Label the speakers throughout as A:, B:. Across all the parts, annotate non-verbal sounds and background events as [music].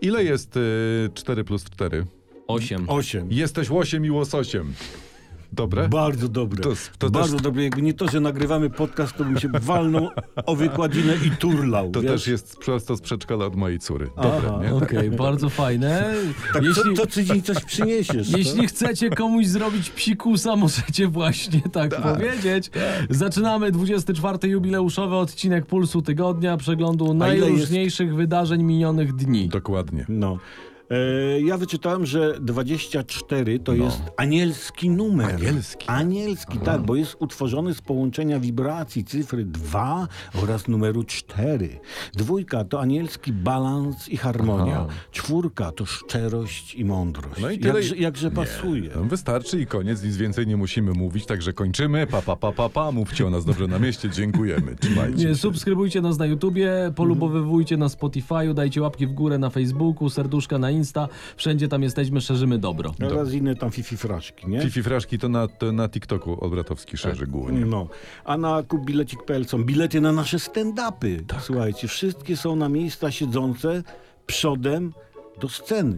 A: Ile jest y, 4 plus 4?
B: 8.
C: 8.
A: Jesteś łosiem i łososiem. Dobre?
C: Bardzo dobre.
A: To- to też-
C: Bardzo dobre. Jakby nie to, że nagrywamy podcast, to bym się walnął o wykładzinę i turlał.
A: to
C: wiesz?
A: też jest prosto z przedszkola od mojej córy. Dobre,
C: Aha,
A: nie?
C: [laughs]
B: Okej, bardzo fajne.
C: Tak,
B: jeśli,
C: co, co tydzień coś przyniesiesz. to-
B: jeśli chcecie komuś zrobić psikusa, możecie właśnie tak powiedzieć.
C: Tak.
B: Zaczynamy 24. jubileuszowy odcinek Pulsu Tygodnia, przeglądu
C: ile jest?
B: najróżniejszych wydarzeń minionych dni.
A: Dokładnie.
C: No. E, ja wyczytałem, że 24 to jest anielski numer.
A: No. Anielski.
C: Anielski, tak, bo jest utworzony z połączenia wibracji cyfry 2 oraz numeru 4. Dwójka to anielski balans i harmonia. Czwórka to szczerość i mądrość.
A: No i tyle-
C: Jakże, jakże pasuje.
A: No, wystarczy i koniec, nic więcej nie musimy mówić, także kończymy. Pa, pa, pa, pa, pa. Mówcie o nas dobrze na mieście, dziękujemy. Trzymajcie
B: Nie,
A: się.
B: subskrybujcie nas na YouTubie, polubowywujcie na Spotify'u, dajcie łapki w górę na Facebooku, serduszka na Insta. Wszędzie tam jesteśmy, szerzymy dobro.
C: Oraz inne tam fifi fraszki, nie?
A: Fifi Fraszki to na, to na TikToku
B: Tak.
A: Odbratowski szerzy głównie.
C: No, a na kupbilecik.pl są bilety na nasze stand-upy.
B: Tak.
C: Słuchajcie, wszystkie są na miejsca siedzące przodem do sceny.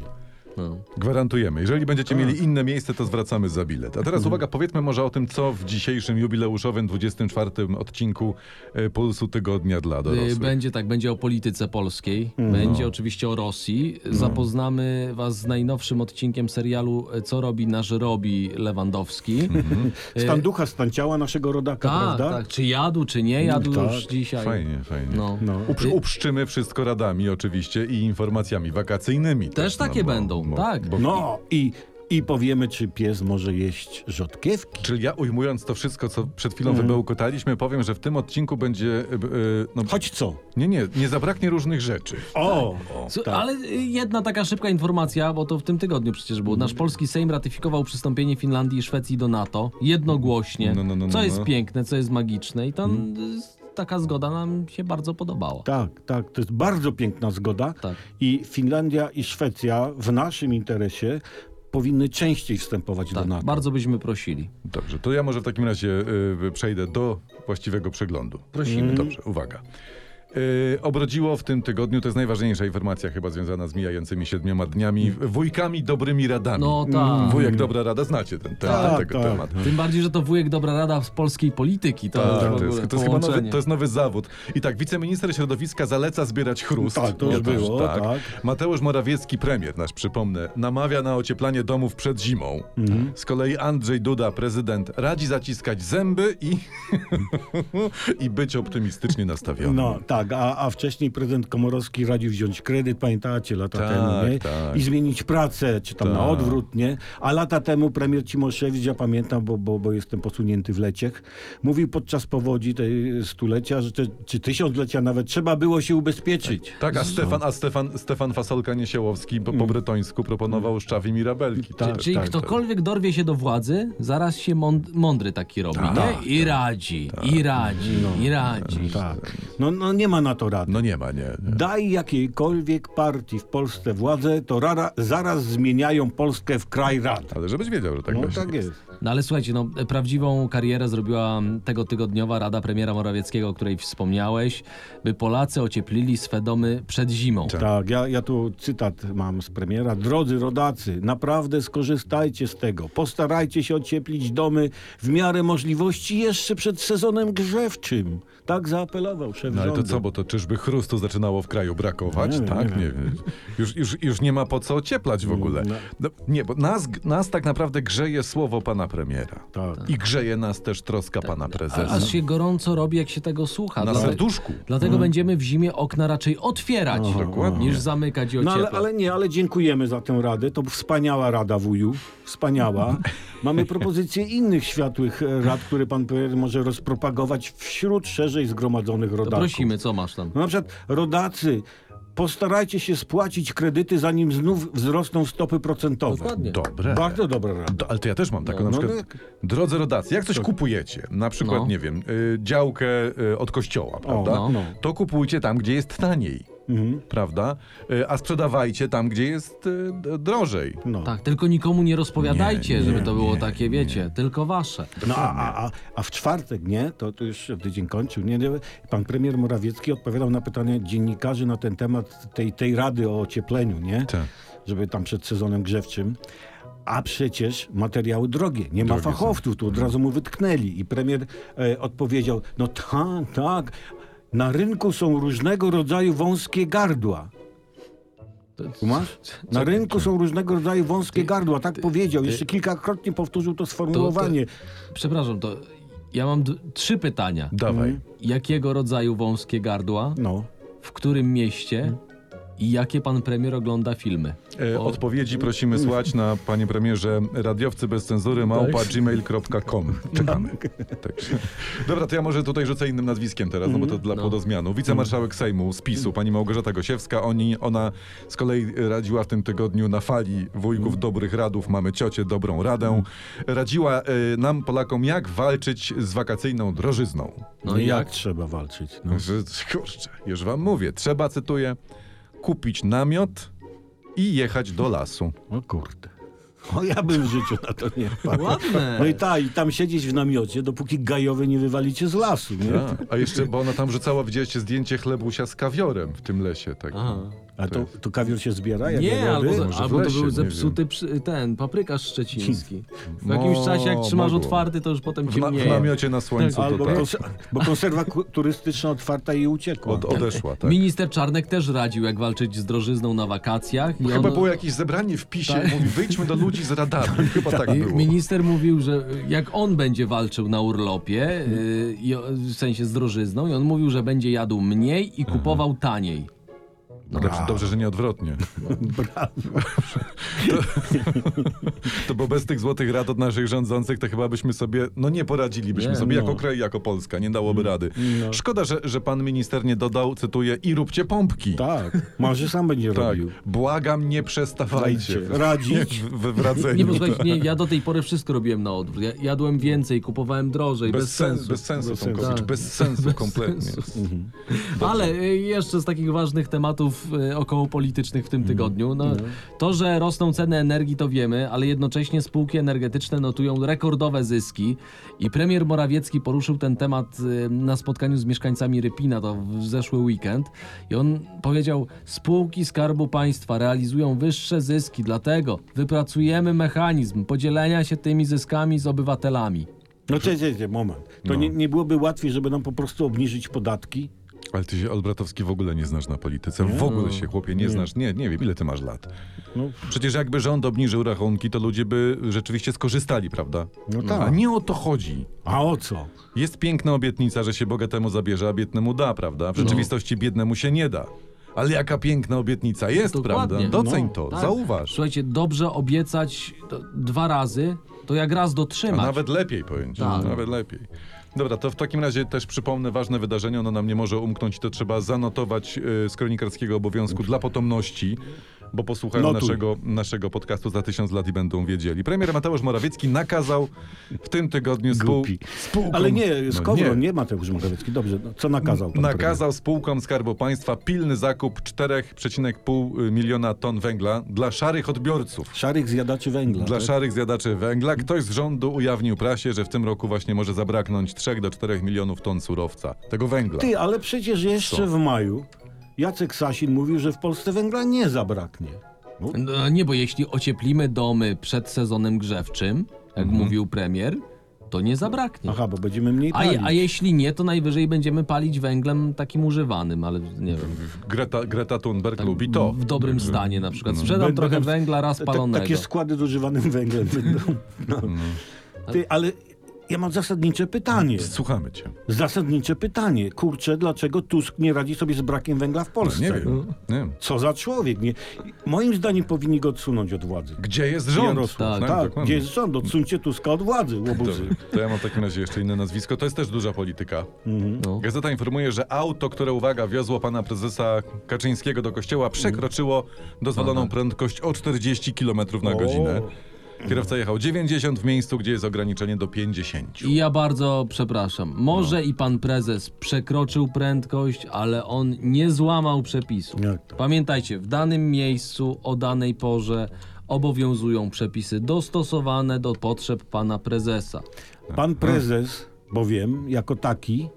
A: Gwarantujemy. Jeżeli będziecie mieli inne miejsce, to zwracamy za bilet. A
B: Mhm.
A: teraz uwaga, powiedzmy może o tym, co w dzisiejszym jubileuszowym 24 odcinku e, Pulsu Tygodnia dla
B: Y,
A: dorosłych. Mm. No.
B: Będzie tak, będzie o polityce polskiej, będzie oczywiście o Rosji. Zapoznamy Was z najnowszym odcinkiem serialu y, Co robi nasz robi Lewandowski.
A: Mhm.
C: Stan ducha, stan ciała naszego rodaka,
B: E, Tak,
C: prawda?
B: tak, czy jadł, czy nie jadł
C: Tak.
B: już dzisiaj.
A: Mm, Fajnie, fajnie.
B: No.
C: No.
A: Uprz, uprzczymy wszystko radami oczywiście i informacjami wakacyjnymi.
B: Też takie będą, tak.
C: No i, i powiemy, czy pies może jeść rzodkiewki.
A: Czyli ja ujmując to wszystko, co przed chwilą
B: Mhm.
A: wybełkotaliśmy, powiem, że w tym odcinku będzie... e, b- e, no,
C: Choć co?
A: nie, nie, nie zabraknie różnych rzeczy.
C: O!
A: No,
B: Słu-
C: tak.
B: Ale y, jedna taka szybka informacja, bo to w tym tygodniu przecież było.
A: Mm.
B: Nasz polski Sejm ratyfikował przystąpienie Finlandii i Szwecji do NATO jednogłośnie,
A: No, no, no, Mm.
B: co
A: no,
B: jest
A: no.
B: piękne, co jest magiczne i tam y, taka zgoda nam się bardzo podobała.
C: Tak, tak, to jest bardzo piękna zgoda.
B: Tak.
C: I Finlandia i Szwecja w naszym interesie powinny częściej wstępować do
B: Tak,
C: NATO.
B: bardzo byśmy prosili.
A: Dobrze, to ja może w takim razie y, przejdę do właściwego przeglądu. Prosimy. Dobrze, uwaga. Y, obrodziło w tym tygodniu, to jest najważniejsza informacja chyba związana z mijającymi siedmioma dniami, wujkami dobrymi radami.
B: No tak.
A: Wujek dobra rada, znacie ten, ten,
C: Tak,
A: tego
C: tak.
A: temat.
B: Tym bardziej, że to wujek dobra rada z polskiej polityki. To,
A: Tak,
B: już w
A: to,
B: ogóle
A: jest, to, jest chyba nowy,
B: połączenie.
A: to jest nowy zawód. I tak, wiceminister środowiska zaleca zbierać chrust.
C: Tak, to już
A: Ja też,
C: było, tak.
A: Mateusz Morawiecki, premier nasz, przypomnę, namawia na ocieplanie domów przed zimą.
C: Mhm.
A: Z kolei Andrzej Duda, prezydent, radzi zaciskać zęby i, [laughs] i być optymistycznie nastawionym.
C: No tak, a, a wcześniej prezydent Komorowski radził wziąć kredyt, pamiętacie, lata
A: Tak,
C: temu, nie?
A: tak.
C: I zmienić pracę, czy tam na
A: Tak.
C: odwrót, nie? A lata temu premier Cimoszewicz, ja pamiętam, bo, bo, bo jestem posunięty w leciech, mówił podczas powodzi tej stulecia, że te, czy tysiąclecia nawet, trzeba było się ubezpieczyć.
A: Tak, a Stefan, a Stefan, Stefan Fasolka Niesiełowski po, po bretońsku proponował szczawi mirabelki.
C: Mm. Tak,
B: Czyli ktokolwiek dorwie się do władzy, zaraz się mąd- mądry taki robi, nie? I radzi, i radzi, i radzi.
C: Tak. No, no nie ma na to rady.
A: No nie ma, nie. nie.
C: Daj jakiejkolwiek partii w Polsce władzę, to rara, zaraz zmieniają Polskę w kraj rad.
A: Ale żebyś wiedział, że tak
C: No
A: właśnie
C: tak jest.
B: No ale słuchajcie, no, prawdziwą karierę zrobiła mm, tego tygodniowa Rada Premiera Morawieckiego, o której wspomniałeś, by Polacy ocieplili swe domy przed zimą.
C: Tak, ja, ja tu cytat mam z premiera. Drodzy rodacy, naprawdę skorzystajcie z tego. Postarajcie się ocieplić domy w miarę możliwości jeszcze przed sezonem grzewczym. Tak zaapelował szef
A: No ale to
C: rządu.
A: co, bo to czyżby chrustu zaczynało w kraju brakować?
C: Nie wiem,
A: tak,
C: nie
A: nie wiem. Już, już, już nie ma po co ocieplać w ogóle. No, nie, bo nas, nas tak naprawdę grzeje słowo pana premiera.
C: Tak.
A: I grzeje nas też troska pana
B: Tak. A,
A: prezesa.
B: aż się gorąco robi, jak się tego słucha.
A: Na
B: Dlate-
A: serduszku.
B: Dlatego będziemy w zimie okna raczej otwierać,
A: Dokładnie.
B: niż zamykać i
C: No
B: ocieplać.
C: ale, ale nie, ale dziękujemy za tę radę. To wspaniała rada wuju. Wspaniała. Mamy propozycje innych światłych e, rad, które pan premier może rozpropagować wśród szerzej zgromadzonych
B: To
C: rodaków.
B: prosimy, co masz tam?
C: No na przykład rodacy, postarajcie się spłacić kredyty, zanim znów wzrosną stopy procentowe.
B: Dokładnie.
A: Dobre.
C: Bardzo dobra rada.
A: Do, ale to ja też mam taką
B: No,
A: na
C: no
A: przykład. Drodzy rodacy, jak coś kupujecie, na przykład,
B: No.
A: nie wiem, y, działkę y, od kościoła, prawda?
C: no, no.
A: To kupujcie tam, gdzie jest taniej. prawda? Y, A sprzedawajcie tam, gdzie jest y, d- drożej.
C: No.
B: Tak, tylko nikomu nie rozpowiadajcie,
A: Nie, nie,
B: żeby to było
A: nie,
B: takie, wiecie, tylko wasze.
C: No, a, a, a- a w czwartek, nie? To, to już się tydzień kończył. Nie, nie, pan premier Morawiecki odpowiadał na pytania dziennikarzy na ten temat tej, tej rady o ociepleniu, nie?
A: Tak.
C: Żeby tam przed sezonem grzewczym. A przecież materiały drogie. tak. Mhm. Nie ma
A: Drogie są.
C: fachowców. Tu od razu mu wytknęli. I premier e, odpowiedział, no tak, tak. Na rynku są różnego rodzaju wąskie gardła.
B: To-
C: Kumasz? Na rynku są różnego rodzaju wąskie gardła. Tak powiedział. Jeszcze kilkakrotnie powtórzył to sformułowanie.
B: Przepraszam, to ja mam d- trzy pytania.
A: Dawaj.
C: Mhm.
B: Jakiego rodzaju wąskie gardła,
C: No.
B: w którym mieście i jakie pan premier ogląda filmy?
A: E, Odpowiedzi prosimy słać na, panie premierze, radiowcy bez cenzury małpa gmail.com. Czekamy. Także. Dobra, to ja może tutaj rzucę innym nazwiskiem teraz, no bo to dla
B: No.
A: podozmianu. Wicemarszałek Sejmu z PiSu, pani Małgorzata Gosiewska, oni, ona z kolei radziła w tym tygodniu na fali wujków dobrych radów, mamy ciocie dobrą radę. Radziła e, nam, Polakom, jak walczyć z wakacyjną drożyzną.
C: No jak, trzeba walczyć? No.
A: Że, kurczę, już wam mówię. Trzeba, cytuję, kupić namiot i jechać do lasu.
C: O kurde. O, No ja bym w życiu na to nie wpadł.
B: Ładne.
C: No i ta, i tam siedzieć w namiocie, dopóki gajowy nie wywalicie z lasu, nie?
A: A, a jeszcze, bo ona tam rzucała, widzieliście zdjęcie chlebusia z kawiorem w tym lesie. Tak.
B: Aha.
C: A to, to kawior się zbiera? Jak
B: Nie,
C: gajowy?
B: albo,
A: Może w
B: albo to
A: lesie,
B: był
A: nie
B: zepsuty przy, ten paprykarz szczeciński.
A: [laughs]
B: W
A: Mo-
B: jakimś czasie, jak trzymasz
A: mogło.
B: otwarty, to już potem
A: W, na,
B: ciemnieje.
A: w namiocie na słońcu
C: Albo
A: to tak.
C: kons- bo konserwa ku- turystyczna otwarta i uciekła.
A: Od, odeszła, tak.
B: Minister Czarnek też radził, jak walczyć z drożyzną na wakacjach. i
A: No Chyba
B: ono-
A: było jakieś zebranie w PiSie,
B: Tak.
A: mówi wyjdźmy do ludzi z radarem. Chyba tak
B: I
A: było.
B: Minister mówił, że jak on będzie walczył na urlopie, y, i o- w sensie z drożyzną, i on mówił, że będzie jadł mniej i kupował taniej.
A: No Dobrze, dobrze, że nie odwrotnie.
C: Brawo.
A: [laughs] To bo bez tych złotych rad od naszych rządzących, to chyba byśmy sobie, no nie poradzilibyśmy
B: Nie,
A: sobie
C: no.
A: jako kraj, jako Polska, nie dałoby rady.
C: No.
A: Szkoda, że, że pan minister nie dodał, cytuję, i róbcie pompki.
C: Tak, może sam będzie
A: Tak,
C: robił.
A: błagam, nie przestawajcie.
C: Dajcie, radzić.
A: W- We wraceniu.
B: Nie, bo słuchajcie, nie, ja do tej pory wszystko robiłem na odwrót. Ja, jadłem więcej, kupowałem drożej, bez,
A: sen-
B: sensu.
A: Bez sensu,
C: Bez
A: bez
C: sensu.
A: sensu.
B: Tak.
A: Bez sensu kompletnie. Mhm.
B: Ale y, jeszcze z takich ważnych tematów y, okołopolitycznych w
A: Mm.
B: tym tygodniu. No, to, że rosną ceny energii, to wiemy, ale jednocześnie spółki energetyczne notują rekordowe zyski. I premier Morawiecki poruszył ten temat y, na spotkaniu z mieszkańcami Rypina, to w zeszły weekend. I on powiedział, spółki Skarbu Państwa realizują wyższe zyski, dlatego wypracujemy mechanizm podzielenia się tymi zyskami z obywatelami.
C: No cześć, cześć, cześć, moment. To
A: No.
C: nie, nie byłoby łatwiej, żeby nam po prostu obniżyć podatki?
A: Ale ty się, Olbratowski, w ogóle nie znasz na polityce. W ogóle się, chłopie, nie, znasz. Nie, nie wiem, ile ty masz lat.
C: No.
A: Przecież jakby rząd obniżył rachunki, to ludzie by rzeczywiście skorzystali, prawda?
C: No tak.
A: A nie o to chodzi.
C: A o co?
A: Jest piękna obietnica, że się bogatemu zabierze, a biednemu da, prawda? W rzeczywistości biednemu się nie da. Ale jaka piękna obietnica jest,
B: Dokładnie.
A: prawda? Doceń
C: No,
A: to,
B: tak.
A: zauważ.
B: Słuchajcie, dobrze obiecać to dwa razy, to jak raz
A: A
B: dotrzymać.
A: nawet lepiej powiem ci.
B: Tak.
A: Nawet lepiej. Dobra, to w takim razie też przypomnę ważne wydarzenie, ono nam nie może umknąć, to trzeba zanotować y, z kronikarskiego obowiązku dla potomności, bo posłuchają
C: Notuj.
A: naszego, naszego podcastu za tysiąc lat i będą wiedzieli. Premier Mateusz Morawiecki nakazał w tym tygodniu spół,
C: Głupi.
A: spółkom...
C: Ale nie,
A: No
C: Skowron, nie. Mateusz Morawiecki. Dobrze, no, co nakazał pan
A: Nakazał spółkom Skarbu Państwa pilny zakup 4,5 y, miliona ton węgla dla szarych odbiorców.
C: premier? Szarych zjadaczy węgla.
A: Dla
C: tak?
A: szarych zjadaczy węgla ktoś z rządu ujawnił prasie, że w tym roku właśnie może zabraknąć 3 do 4 milionów ton surowca, tego węgla.
C: Ty, ale przecież jeszcze w maju Jacek Sasin mówił, że w Polsce węgla nie zabraknie. No,
B: No, nie, bo jeśli ocieplimy domy przed sezonem grzewczym, jak mówił premier, to nie zabraknie.
C: aha, bo będziemy mniej
B: No. A,
C: palić.
B: je- a jeśli nie, to najwyżej będziemy palić węglem takim używanym, ale nie wiem.
A: Greta, Greta Thunberg
B: tak
A: lubi to. Mm.
B: W dobrym stanie na przykład. Sprzedam
C: Będą
B: trochę
C: tam-
B: węgla raz
C: Ta-
B: palonego.
C: Tak, takie składy z używanym węglem będą. No. Ty, ale ja mam zasadnicze pytanie.
A: Słuchamy cię.
C: Zasadnicze pytanie. Kurczę, dlaczego Tusk nie radzi sobie z brakiem węgla w Polsce?
A: Nie wiem. Nie. wiem.
C: Co za człowiek? Nie. Moim zdaniem powinni go odsunąć od władzy.
A: Gdzie jest rząd?
C: Jarosław,
B: Tak,
C: tak,
A: dokładnie.
C: gdzie jest rząd? Odsuńcie Tuska od władzy, łobuzy.
A: Dobrze, to ja mam w takim razie jeszcze inne nazwisko. To jest też duża polityka.
B: No.
A: Gazeta informuje, że auto, które, uwaga, wiozło pana prezesa Kaczyńskiego do kościoła, przekroczyło dozwoloną prędkość o 40 km na godzinę. Kierowca jechał 90 w miejscu, gdzie jest ograniczenie do 50.
B: I ja bardzo przepraszam. Może i pan prezes przekroczył prędkość, ale on nie złamał przepisu.
C: Jak to?
B: Pamiętajcie, w danym miejscu, o danej porze obowiązują przepisy dostosowane do potrzeb pana prezesa.
C: Pan
A: Tak.
C: prezes, bowiem, jako taki,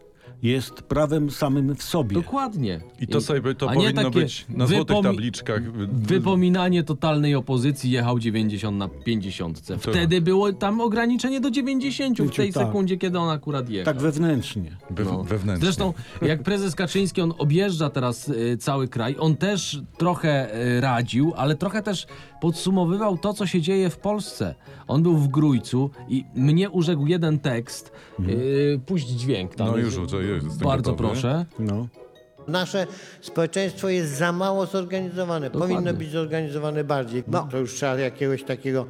C: jest prawem samym w sobie.
B: Dokładnie. Y,
A: I to sobie to
B: a nie
A: powinno
B: takie
A: być na złotych
B: wypomi-
A: tabliczkach.
B: Wypominanie totalnej opozycji jechał 90 na 50. Wtedy było tam ograniczenie do 90 w tej
C: Tak.
B: sekundzie, kiedy on akurat jechał.
C: Tak wewnętrznie.
A: We,
B: No.
A: Wewnętrznie.
B: Zresztą, jak prezes Kaczyński, on objeżdża teraz y, cały kraj, on też trochę y, radził, ale trochę też podsumowywał to, co się dzieje w Polsce. On był w Grójcu i mnie urzekł jeden tekst. Y, puść dźwięk tam.
A: Mhm. No już, to jest, jestem
B: Bardzo
A: gotowy.
B: proszę.
C: No.
D: Nasze społeczeństwo jest za mało zorganizowane.
B: Dokładnie.
D: Powinno być zorganizowane bardziej. No, to już trzeba jakiegoś takiego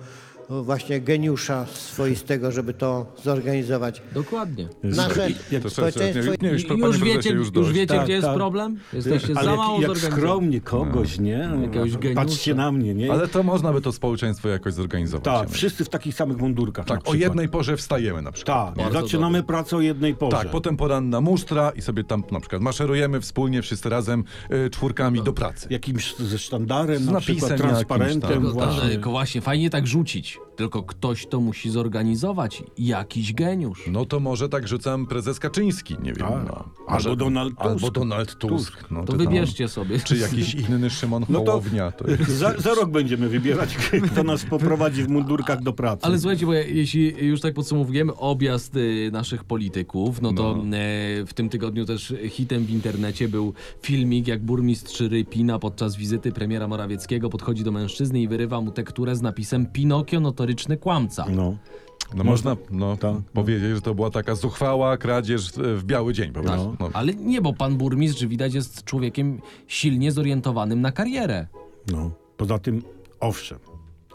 D: no, właśnie geniusza swoistego, żeby to zorganizować.
B: Dokładnie.
D: Nasze
A: To trzeba-
D: społeczeństwo...
A: nie, nie, już, panie
B: Już
A: prezesie,
B: wiecie,
A: już
B: już,
A: dość.
B: wiecie
C: Tak,
B: gdzie jest
C: tak.
B: problem? Jesteście
C: Ale
B: za mało
C: jak, jak
B: zorganizowani.
C: skromnie kogoś, nie?
B: Jakiegoś geniusza.
C: Patrzcie na mnie, nie?
A: No. Ale to można by to społeczeństwo jakoś zorganizować.
C: Tak, wszyscy w takich samych mundurkach. na
A: tak o
C: przykład.
A: jednej porze wstajemy na przykład.
C: Tak,
B: Bardzo
C: zaczynamy pracę o jednej porze.
A: Tak, potem poranna musztra i sobie tam na przykład maszerujemy wspólnie wszyscy razem y, czwórkami do pracy.
C: Jakimś ze sztandarem,
A: Z
C: na
A: napisem
C: przykład
A: jakimś,
C: transparentem
A: tak.
B: Tylko,
C: właśnie.
B: tylko właśnie, fajnie tak rzucić. Tylko ktoś to musi zorganizować. Jakiś geniusz.
A: No to może tak rzucam prezes Kaczyński, nie wiem.
C: Tak.
A: No.
C: Albo Donald Tusk.
A: Albo Donald Tusk. No,
B: To
A: ty tam-
B: wybierzcie sobie.
A: Czy jakiś inny Szymon
C: No to-
A: Hołownia.
C: [laughs]
A: To jest...
C: Za, za rok będziemy wybierać, kto nas poprowadzi w mundurkach do pracy.
B: Ale słuchajcie, bo jeśli już tak podsumowujemy objazd y, naszych polityków, no to e, w tym tygodniu też hitem w internecie był filmik, jak burmistrz Rypina podczas wizyty premiera Morawieckiego podchodzi do mężczyzny i wyrywa mu tekturę z napisem Pinokio, notoryczny kłamca.
C: No.
A: No, można no,
C: Tak.
A: powiedzieć, że to była taka zuchwała kradzież e, w biały dzień po prostu.
C: Tak.
A: No.
B: Ale nie, bo pan burmistrz widać jest człowiekiem silnie zorientowanym na karierę.
C: No. Poza tym, owszem,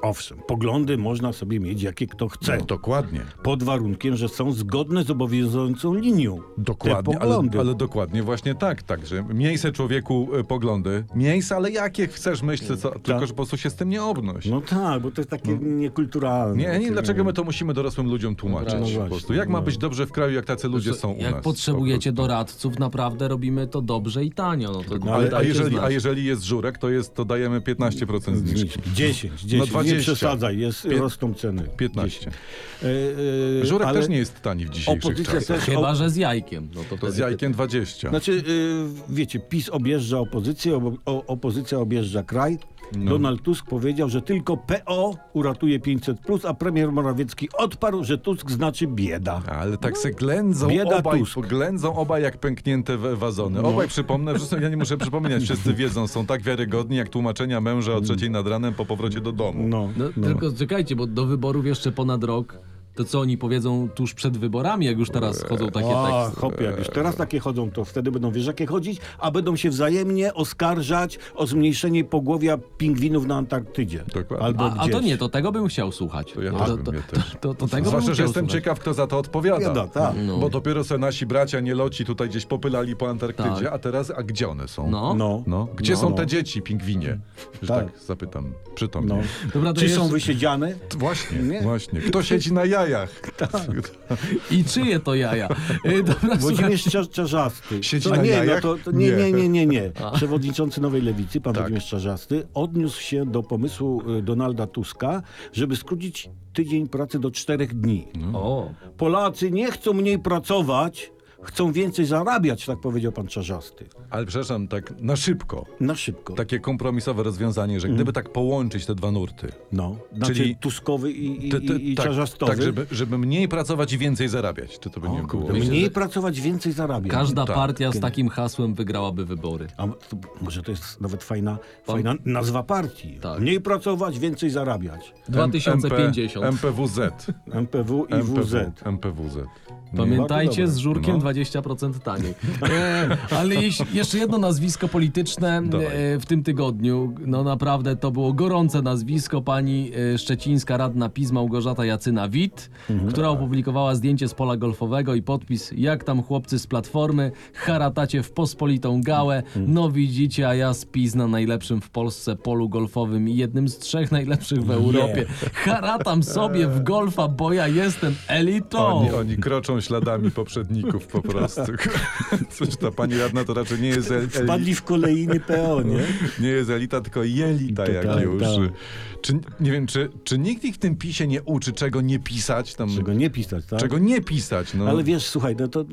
C: owszem, poglądy można sobie mieć, jakie kto chce.
A: No, dokładnie.
C: Pod warunkiem, że są zgodne z obowiązującą linią.
A: Dokładnie,
C: Te
A: ale,
C: poglądy.
A: ale dokładnie właśnie tak, także miejsce człowieku e, poglądy, miejsce, ale jakie chcesz myśleć, co, tylko że po prostu się z tym nie obnoś.
C: No tak, bo to jest takie niekulturalne.
A: Nie, nie,
C: Takie-
A: dlaczego my to musimy dorosłym ludziom
C: No
A: tłumaczyć?
C: właśnie,
A: po prostu. Jak ma
C: no.
A: być dobrze w kraju, jak tacy ludzie są u nas?
B: Jak
A: po
B: potrzebujecie
A: prostu?
B: doradców, naprawdę robimy to dobrze i tanio. No to
C: ale- a
A: A
B: dajcie
A: jeżeli,
B: znać.
A: a jeżeli jest żurek, to, jest, to dajemy 15% zniżki.
C: 10, 10,
A: No 20.
C: nie przesadzaj, jest,
A: Pię-
C: rosną ceny.
A: 15.
C: E, e,
A: Żurek
C: ale
A: też nie jest tani w dzisiejszych
C: Opozycja
A: czasach.
C: też... o-
B: Chyba, że z jajkiem. No to,
A: Z
B: wtedy-
A: jajkiem 20.
C: Znaczy, y, wiecie, PiS objeżdża opozycję, obo- o, opozycja objeżdża kraj.
A: No.
C: Donald Tusk powiedział, że tylko PO uratuje 500, plus, a premier Morawiecki odparł, że Tusk znaczy bieda.
A: Ale tak se ględzą
C: Bieda
A: obaj,
C: Tusk. No.
A: ględzą obaj jak pęknięte we- wazony. Obaj przypomnę, wszyscy, ja nie muszę przypominać,
C: [laughs]
A: wszyscy wiedzą, są tak wiarygodni jak tłumaczenia męża o trzeciej nad ranem po powrocie do domu.
C: No,
B: No, Tylko czekajcie, bo do wyborów jeszcze ponad rok. To co oni powiedzą tuż przed wyborami, jak już
A: Eee,
B: teraz tak- chodzą takie
C: A,
B: teksty.
C: hopie, jak już teraz takie chodzą, to wtedy będą wiesz jakie chodzić, a będą się wzajemnie oskarżać o zmniejszenie pogłowia pingwinów na Antarktydzie.
A: Dokładnie.
C: Albo
B: A, a
C: gdzieś.
B: to nie, to tego bym chciał słuchać.
A: To ja
B: No,
A: też
B: to,
A: bym,
B: to,
A: ja
B: to,
A: też.
B: to, tak to tego
A: Zwłaszcza,
B: bym
A: że
B: chciał
A: jestem
B: słuchać.
A: ciekaw, kto za to odpowiada.
C: Odpowiada, tak.
B: No.
A: Bo dopiero se nasi bracia nieloci tutaj gdzieś popylali po Antarktydzie,
B: Tak.
A: a teraz, a gdzie one są?
B: No.
C: No.
A: No, Gdzie
C: No,
A: są
C: no.
A: te dzieci, pingwinie? Że tak.
C: Tak.
A: zapytam przytomnie.
C: No.
B: Dobra, to
C: Czy
B: jeszcze-
C: są wysiedziane?
A: Właśnie, właśnie. Kto siedzi na
C: [laughs]
A: jajach?
C: Tak.
B: I czyje
A: [laughs]
B: to jaja? Y, Dobra, słuchaj,
C: Włodzimierz Cza- Czarzasty.
A: Siedzi
C: A
A: na
C: nie, no
A: jajach?
C: to, to nie, nie, nie, nie,
A: [laughs]
C: nie.
B: A.
C: Przewodniczący Nowej Lewicy, pan
A: Tak.
C: Włodzimierz Czarzasty, odniósł się do pomysłu y, Donalda Tuska, żeby skrócić tydzień pracy do czterech dni.
A: No.
B: o,
C: Polacy nie chcą mniej pracować, chcą więcej zarabiać, tak powiedział pan Czarzasty.
A: Ale przepraszam, tak na szybko.
C: Na szybko.
A: Takie kompromisowe rozwiązanie,
C: Mhm.
A: że gdyby tak połączyć te dwa nurty,
C: No. Znaczy
A: Czyli-
C: Tuskowy i, i,
A: Ty- ty-
C: i, i
A: tak,
C: Czarzastowy.
A: tak żeby, żeby mniej pracować i więcej zarabiać. Czy to by nie było?
B: kurde.
C: Mniej pracować, więcej zarabiać.
B: każda
A: Tak.
B: partia z takim hasłem wygrałaby wybory.
C: A to, może to jest nawet fajna, fajna nazwa partii.
B: Tak.
C: Mniej pracować, więcej zarabiać.
A: M-
B: 2050.
A: MP, MPWZ.
C: MPW i WZ.
A: MPWZ.
B: Pamiętajcie,
A: Bardzo
B: z żurkiem
A: No.
B: 20%
A: [laughs]
B: taniej. E, ale jeś- jeszcze jedno nazwisko polityczne
A: Dawaj.
B: e, w tym tygodniu. No naprawdę to było gorące nazwisko. Pani e, szczecińska radna PiS Małgorzata Jacyna-Wit,
A: Mhm.
B: która opublikowała zdjęcie z pola golfowego i podpis jak tam chłopcy z Platformy, haratacie w pospolitą gałę.
A: Mhm.
B: No widzicie, a ja z PiS na najlepszym w Polsce polu golfowym i jednym z trzech najlepszych w Europie. Haratam sobie w golfa, bo ja jestem elitą.
A: Oni, oni kroczą śladami poprzedników po
C: [laughs]
A: prostu. Coś ta pani radna to raczej nie jest, el, el,
C: Wpadli w kolejny PO, nie?
A: nie jest elita, tylko jelita jak
C: Tak,
A: już.
C: tak.
A: Czy, nie wiem, czy, czy nikt ich w tym pisie nie uczy, czego nie pisać? Tam,
C: Czego
A: czego,
C: nie pisać, tak?
A: nie pisać? No.
C: Ale wiesz, słuchaj, no to...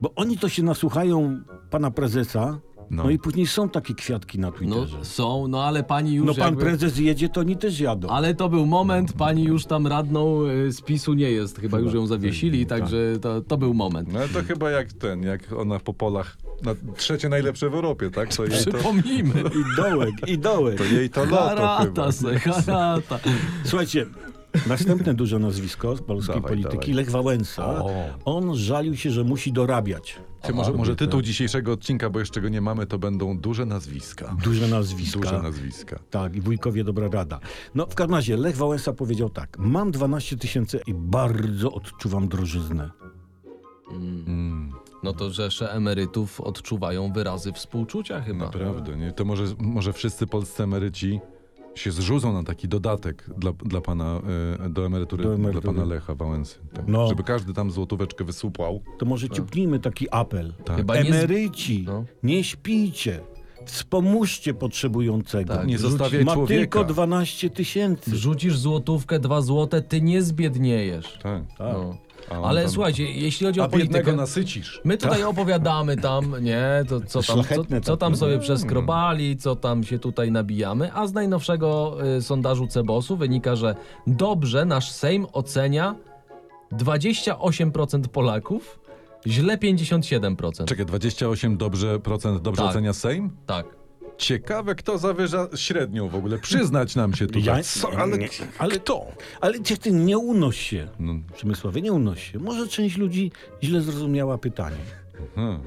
C: Bo oni to się nasłuchają pana prezesa, no,
A: No.
C: i później są takie kwiatki na
B: No
C: Twitterze.
B: są, no ale pani już
C: No, pan
B: jakby...
C: prezes jedzie, to oni też jadą.
B: Ale to był moment, pani już tam radną y, z PiSu nie jest, chyba już ją zawiesili, także to, to był moment.
A: No ale tak. to chyba jak ten, jak ona po polach, na trzecie najlepsze w Europie, tak? To jej to, [laughs]
B: Przypomnijmy.
C: I dołek, i dołek.
A: to, jej No to loto chyba.
B: Harata se, harata.
C: Słuchajcie, następne duże nazwisko z polskiej
A: Dawaj,
C: polityki,
A: dawaj.
C: Lech Wałęsa. On żalił się, że musi dorabiać.
A: Ty, może, może
C: tak.
A: tytuł dzisiejszego odcinka, bo jeszcze go nie mamy, to będą duże nazwiska.
C: Duże nazwiska.
A: Duże nazwiska.
C: Tak, i wujkowie dobra rada. No, w każdym razie Lech Wałęsa powiedział tak. Mam 12 tysięcy i bardzo odczuwam drożyznę.
B: No to rzesze emerytów odczuwają wyrazy współczucia chyba.
A: Naprawdę, nie? To może, może wszyscy polscy emeryci się zrzucą na taki dodatek dla, dla pana, e, do, emerytury,
C: Do emerytury.
A: dla pana Lecha Wałęsy. Tak?
C: No.
A: Żeby każdy tam złotóweczkę wysupłał.
C: To może ciupnijmy taki apel.
A: Tak.
B: Chyba nie z...
C: Emeryci,
B: No.
C: nie śpijcie. Wspomóżcie potrzebującego.
B: Tak,
A: Nie zostawiaj
C: Ma
A: człowieka. No.
C: tylko 12 tysięcy.
B: Rzucisz złotówkę, dwa złote, ty nie zbiedniejesz.
A: Tak.
B: No.
A: A on
B: Ale
A: tam-
B: słuchajcie, jeśli chodzi
A: A
B: o politykę...
A: biednego nasycisz.
B: My tutaj opowiadamy tam, nie, to co tam, co,
C: Szlachetne
B: co tam
C: takie.
B: sobie przeskrobali, co tam się tutaj nabijamy, a z najnowszego y, sondażu Cebosu wynika, że dobrze nasz Sejm ocenia 28% Polaków, źle 57%.
A: Czekaj, 28 dobrze, procent dobrze
B: Tak.
A: ocenia Sejm?
B: tak.
A: Ciekawe, kto zawyża średnią w ogóle. Przyznać nam się tutaj.
C: Ja-
A: tak, Co? Ale,
C: nie.
A: ale kto?
C: Ale cię ty nie unoś się.
A: No,
C: Przemysławie, nie unoś się. Może część ludzi źle zrozumiała pytanie. [laughs]
A: hmm.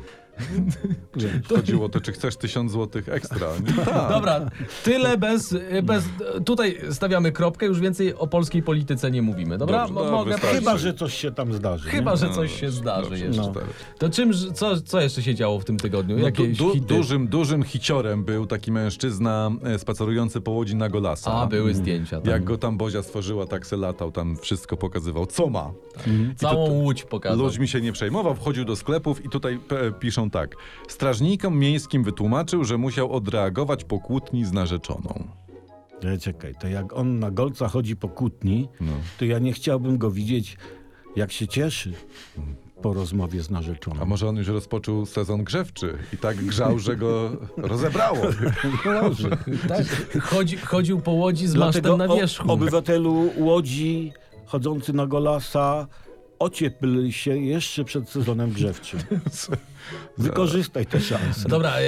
A: Chodziło o to, czy chcesz 1000 złotych ekstra. Nie?
B: [laughs] Dobra, tyle bez, y, bez. Tutaj stawiamy kropkę, już więcej o polskiej polityce nie mówimy, dobra?
A: Dobrze,
B: Mo-
A: no,
B: mogę.
A: wystarczy. no,
C: Chyba, że coś się tam zdarzy.
B: Chyba,
C: nie?
B: że no. coś się zdarzy
A: Dobrze,
B: jeszcze.
C: No.
A: cztery.
B: To czym, co, co jeszcze się działo w tym tygodniu?
A: No,
B: Jakieś
A: du, du,
B: hity?
A: dużym, dużym hiciorem był taki mężczyzna e, spacerujący po łodzi na Golasa.
B: A, były zdjęcia. Tam.
A: Jak go tam Bozia stworzyła, tak se latał, tam wszystko pokazywał, co ma.
B: Całą łódź pokazał.
A: Ludźmi się nie przejmował, wchodził do sklepów i tutaj p- piszą tak. Strażnikom miejskim wytłumaczył, że musiał odreagować po kłótni z narzeczoną.
C: Ja, E, czekaj, to jak on na golca chodzi po kłótni,
B: No.
C: to ja nie chciałbym go widzieć, jak się cieszy po rozmowie z
A: A
C: narzeczoną.
A: może on już rozpoczął sezon grzewczy i tak grzał, że go
B: [laughs]
A: rozebrało.
B: Tak? Chodzi, chodził po łodzi z
C: Dlatego
B: masztem na
C: o-
B: wierzchu.
C: obywatelu Łodzi, chodzący na golasa, ociepl się jeszcze przed sezonem
B: [laughs]
C: grzewczym. Wykorzystaj tę szansę.
B: Dobra, e,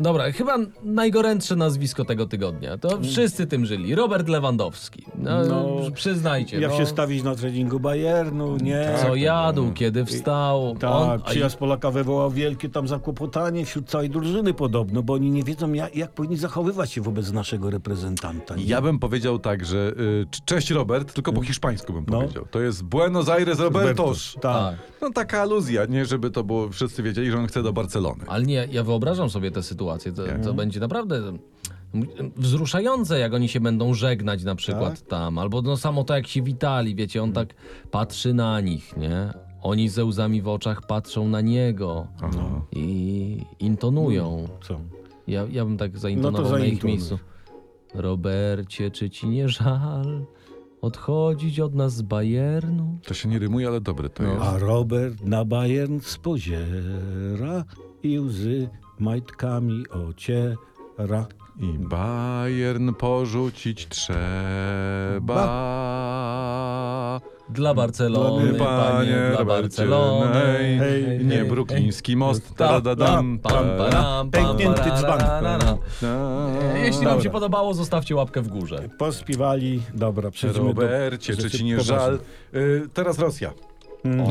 B: dobra, chyba najgorętsze nazwisko tego tygodnia. To wszyscy tym żyli. Robert Lewandowski. No,
C: Mm. No,
B: przyznajcie.
C: Jak
B: no, Tak,
C: się stawić na treningu Bayernu, nie?
B: co jadł, kiedy wstał. on,
C: Tak,
B: a
C: przyjazd Polaka wywołał wielkie tam zakłopotanie wśród całej drużyny podobno, bo oni nie wiedzą jak, jak powinni zachowywać się wobec naszego reprezentanta. nie?
A: Ja bym powiedział tak, że y, c- cześć Robert, tylko po hiszpańsku bym
C: No.
A: powiedział. To jest Buenos Aires Robertos.
C: Tak.
A: No taka aluzja, nie? Żeby to było, wszyscy wiedzieli, że on chce do Barcelony.
B: Ale nie, ja wyobrażam sobie tę sytuację. To, to będzie naprawdę m- wzruszające, jak oni się będą żegnać na przykład
C: Tak.
B: tam. Albo no samo to, jak się witali, wiecie, on
C: Mm.
B: tak patrzy na nich, nie? Oni ze łzami w oczach patrzą na niego
A: Aha.
B: i intonują.
C: Co?
B: Ja, ja bym tak zaintonował
C: No to
B: na ich
C: zaintonuj.
B: miejscu. Robercie, czy ci nie żal odchodzić od nas z Bayernu?
A: To się nie rymuje, ale dobre to jest.
C: A Robert na Bayern spoziera i łzy majtkami ociera.
A: I Bayern porzucić trzeba.
B: Dla Barcelony,
A: Panie,
B: panie, dla
A: Robercie,
B: Barcelony.
A: hej,
C: hej,
A: nie
B: hej,
A: brukliński most.
B: Ta,
A: taradadam,
B: pam,
A: ta,
B: param, pam,
C: Pęknięty
B: parara,
C: dzban.
B: ra, ra.
A: ta.
B: Jeśli
C: Dobra.
B: wam się podobało, zostawcie łapkę w górze.
C: Pospiwali, dobra, przejdziemy do...
A: Robercie, czy
C: rzeczy
A: ci nie
C: poważnych.
A: żal? Y, teraz Rosja.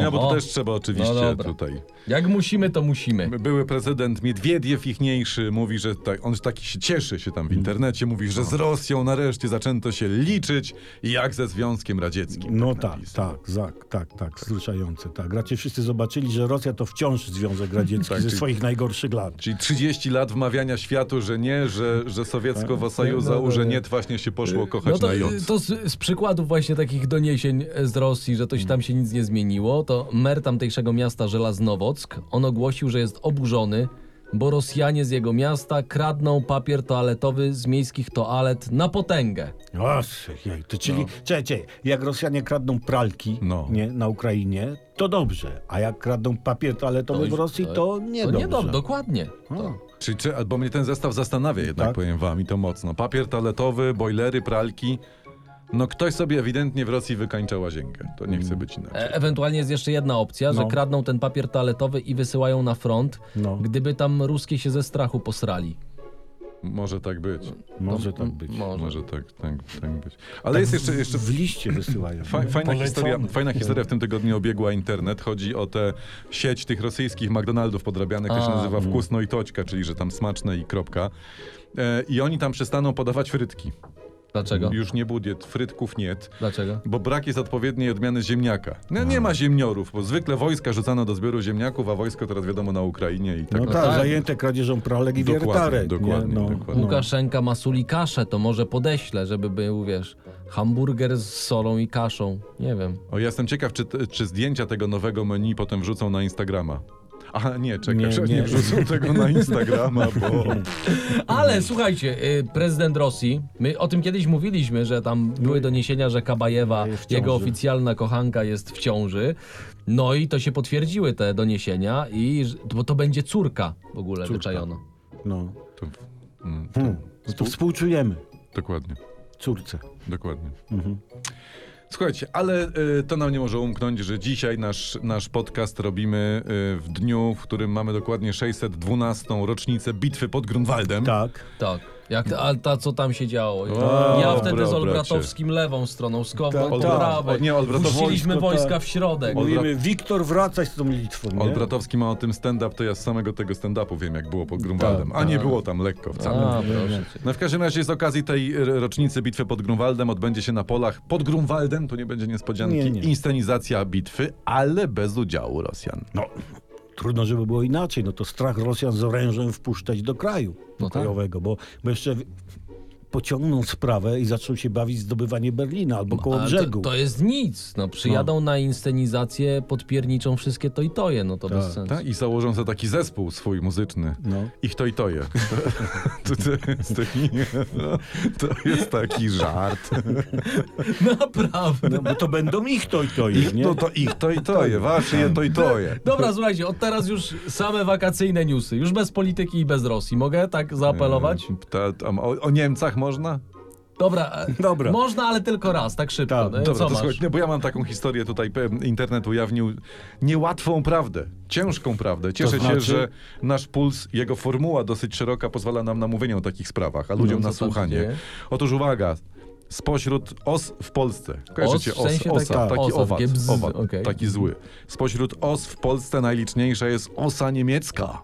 A: No bo
E: Oho.
A: to też trzeba oczywiście
E: No dobra.
A: tutaj.
E: Jak musimy, to musimy.
A: Były prezydent Miedwiediew ichniejszy mówi, że tak, on taki się cieszy się tam w internecie, mówi, że z Rosją nareszcie zaczęto się liczyć jak ze Związkiem Radzieckim.
C: No
A: tak
C: tak,
A: napisał.
C: tak, tak, tak, tak, wzruszające, tak. Raczej wszyscy zobaczyli, że Rosja to wciąż Związek Radziecki
A: Tak,
C: ze
A: czyli-
C: swoich najgorszych lat.
A: Czyli 30 lat wmawiania światu, że nie, że, że sowiecko-wosajuza, że nie, właśnie się poszło kochać
B: No to,
A: na Joc.
B: to z, z przykładów właśnie takich doniesień z Rosji, że to się tam się nic nie zmieniło, to mer tamtejszego miasta Żelaznowock, on ogłosił, że jest oburzony, bo Rosjanie z jego miasta kradną papier toaletowy z miejskich toalet na potęgę.
C: No, Ach, jej, to czyli, no. czekaj, czekaj, jak Rosjanie kradną pralki
A: No.
C: nie, na Ukrainie, to dobrze, a jak kradną papier toaletowy
B: To-
C: w Rosji,
B: to-
C: to nie
B: to
C: dobrze.
B: nie dobrze, dokładnie. To,
A: Czy, czy, bo mnie ten zestaw zastanawia jednak,
C: Tak.
A: powiem wam, i to mocno. Papier toaletowy, bojlery, pralki. No ktoś sobie ewidentnie w Rosji wykańcza łazienkę. To nie chce być inaczej.
B: E- Ewentualnie jest jeszcze jedna opcja,
C: No.
B: że kradną ten papier toaletowy i wysyłają na front,
C: No.
B: gdyby tam ruskie się ze strachu posrali.
A: Może tak być.
C: Może tak być.
B: Może.
A: Może tak, tak, tak być. Ale jest jeszcze, jeszcze
C: W liście wysyłają. No
A: Fa- Fajna
C: Polecamy.
A: historia, fajna historia w tym tygodniu obiegła internet. Chodzi o tę sieć tych rosyjskich McDonaldów podrabianych, to się
B: A,
C: mhm.
A: nazywa wkusno i toćka, czyli że tam smaczne i kropka. E, I oni tam przestaną podawać frytki.
C: No.
B: Dlaczego?
A: Już nie budiet, frytków niet.
C: Tak.
B: Dlaczego?
A: Bo brak jest odpowiedniej odmiany ziemniaka. No, nie ma ziemniorów, bo zwykle wojska rzucano do zbioru ziemniaków, a wojsko teraz wiadomo na Ukrainie i tak.
C: No
A: dalej.
C: tak,
B: tak.
C: zajęte kradzieżą pralek i
A: Dokładnie,
C: wiertarek.
A: dokładnie,
C: nie? No,
A: dokładnie.
C: no.
B: Łukaszenka ma sól i kaszę, to może podeślę, żeby był, wiesz, hamburger z solą i kaszą. Nie wiem.
A: O, ja jestem ciekaw, czy, t- czy zdjęcia tego nowego menu potem wrzucą na Instagrama. Aha, nie,
C: Nie,
A: czekaj, że
C: nie.
A: nie wrzucą tego
C: [laughs]
A: na Instagrama, bo...
B: Ale słuchajcie, y, prezydent Rosji, my o tym kiedyś mówiliśmy, że tam były doniesienia, że Kabajewa,
C: Jest w ciąży.
B: jego oficjalna kochanka jest w ciąży. No i to się potwierdziły te doniesienia i że- bo to będzie córka w ogóle wyczajono.
C: no.
A: To, mm,
C: Hmm. To współczujemy
A: dokładnie.
C: córce.
A: Dokładnie.
C: Mhm.
A: Słuchajcie, ale y, to nam nie może umknąć, że dzisiaj nasz, nasz podcast robimy y, w dniu, w którym mamy dokładnie 612 rocznicę bitwy pod Grunwaldem.
C: Tak.
B: Tak. Jak, a ta, co tam się działo?
A: O,
B: ja wtedy z
A: dobra,
B: Olbratowskim lewą stroną, z Kową
C: Tak,
B: po
C: tak.
B: prawej.
A: O, nie, Olbratowo-
B: Puściliśmy
C: wojsko, tak.
B: wojska w środek.
C: Mówimy, Wiktor, wracaj z tą Litwą. Nie?
A: Olbratowski ma o tym stand-up, to ja z samego tego stand-upu wiem, jak było pod Grunwaldem. A
B: tak.
A: nie było tam lekko wcale.
B: A, proszę cię.
A: No w każdym razie z okazji tej r- rocznicy bitwy pod Grunwaldem odbędzie się na polach pod Grunwaldem, tu nie będzie niespodzianki,
C: Nie, nie.
A: inscenizacja bitwy, ale bez udziału Rosjan.
C: No, trudno, żeby było inaczej. No to strach Rosjan z orężem wpuszczać do kraju
B: No tak.
C: pokojowego, bo, bo jeszcze w- pociągną sprawę i zaczną się bawić zdobywanie Berlina albo koło
B: No, Ale
C: brzegu.
B: To, to jest nic. No, przyjadą na inscenizację, podpierniczą wszystkie to i toje. No to bez sensu. [laughs]
A: Ta? tak? I założą sobie taki zespół swój muzyczny.
C: No.
A: Ich to i to je. To, to, jest taki, no, to jest taki żart.
B: Naprawdę.
C: No, bo to będą ich to i to ich, nie?
A: No to ich to i to je, wasze je to i to je.
B: Dobra, słuchajcie, od teraz już same wakacyjne newsy. Już bez polityki i bez Rosji. Mogę tak zaapelować?
A: Mm, Ta, tam, o, o Niemcach można?
B: Dobra. e,
C: Dobra.
B: Można, ale tylko raz, tak szybko.
C: Tak,
B: no,
A: Dobra,
B: co
A: to
B: masz?
A: słuchaj, nie, bo ja mam taką historię tutaj, pe- internet ujawnił niełatwą prawdę, ciężką prawdę. Cieszę
C: znaczy?
A: się, że nasz puls, jego formuła dosyć szeroka pozwala nam na mówienie o takich sprawach, a ludziom na
B: No, co tam się
A: słuchanie.
B: dzieje?
A: Otóż uwaga, spośród os w Polsce, kojarzycie
B: w
A: os,
B: sensie
A: osa,
B: tak-
A: taki
B: osa,
A: owad,
B: takie bzz,
A: owad
B: okej.
A: taki zły. Spośród os w Polsce najliczniejsza jest osa niemiecka.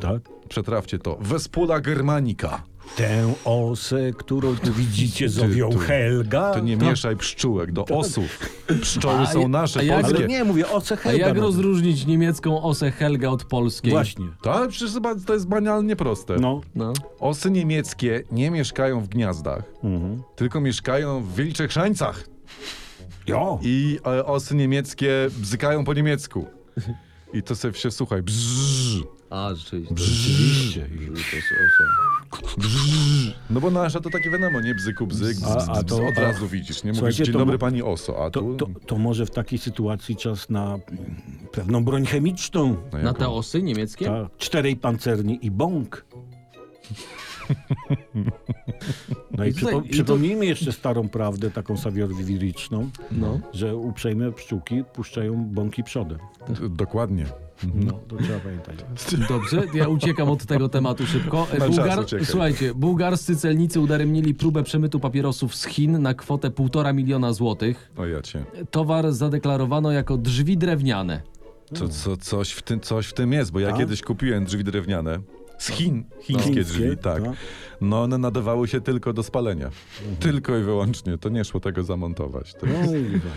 C: Tak.
A: Przetrawcie to. Wespula germanica.
C: Tę osę, którą tu widzicie, zowią
A: ty.
C: Helga.
A: To nie
C: Tak.
A: mieszaj pszczółek do
B: [laughs]
A: osów. Pszczoły
B: A
A: są
B: ja-
A: nasze,
B: a ja-
A: polskie.
C: Ale nie, mówię osę
B: A
C: Helga.
B: jak
C: no.
B: rozróżnić niemiecką osę Helga od polskiej?
C: Właśnie.
A: Tak, przecież chyba to jest banalnie proste.
C: No.
B: No.
A: Osy niemieckie nie mieszkają w gniazdach,
C: Mhm.
A: tylko mieszkają w wilczych szańcach.
C: Jo.
A: I e, osy niemieckie bzykają po
C: [laughs]
A: niemiecku. I to sobie się słuchaj. Bzzz,
B: A, rzeczywiście.
C: Rzeczywiście.
A: No bo nasza to takie wiadomo, nie bzyku bzyk, bzz,
C: A-
A: bzz,
C: a to-
A: bzz, od
C: a-
A: razu widzisz. Nie mówisz,
C: Słuchajcie,
A: dzień
C: to
A: dobry
C: mo-
A: pani oso, a
C: To,
A: tu... no
C: to, to może w takiej sytuacji czas na mm, pewną broń chemiczną.
A: No
B: Na
A: jaką-
B: te osy niemieckie?
C: Tak. Czterej pancerni i bąk. No i,
B: I tutaj-
C: przypo-
B: i to-
C: przypomnijmy jeszcze starą prawdę, taką sawiorwiryczną,
B: No.
C: że uprzejme pszczółki puszczają bąki przodem.
A: D- Dokładnie.
C: No, to trzeba pamiętać.
B: Dobrze, ja uciekam od tego tematu szybko. E,
A: Mam czas uciekać.
B: słuchajcie, bułgarscy celnicy udaremnili próbę przemytu papierosów z Chin na kwotę 1,5 miliona złotych.
A: O ja cię.
B: Towar zadeklarowano jako drzwi drewniane.
A: Co, co, coś, w tym, coś w tym jest, bo ja
C: Mm. Tak?
A: kiedyś kupiłem drzwi drewniane. Z Chin, chińskie
C: Chińskie,
A: drzwi, tak.
C: no.
A: No one nadawały się tylko do spalenia. Tylko i wyłącznie. To nie szło tego zamontować. To...
C: No i widać.